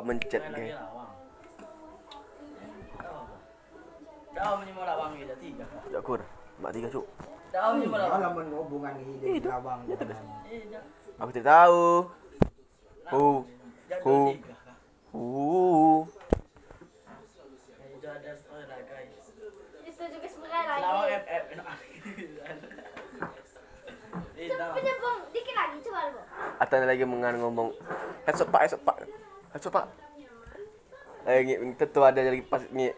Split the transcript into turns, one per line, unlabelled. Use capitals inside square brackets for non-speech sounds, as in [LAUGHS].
mencet dia.
lah, Dah punya malah bang ni dah tiga. lah.
Tak kur. Mak tiga cuk.
Dah punya malah bang.
Malah menghubungan hidup lawang dengan
Eh dah.
Aku tak tahu. Hu.
Dah
Hu.
dua tiga. lah.
Hu.
Eh, Dah ada setengah dah guys. Lah,
Itu juga sebenarnya
Lawang
lagi.
FF nak. [LAUGHS] Eh dah.
Punya bom, dikit lagi coba bom.
Atan lagi mengan ngomong. Esok pak, esok pak. Esok pak. Eh, ngi, tentu ada lagi pas ngi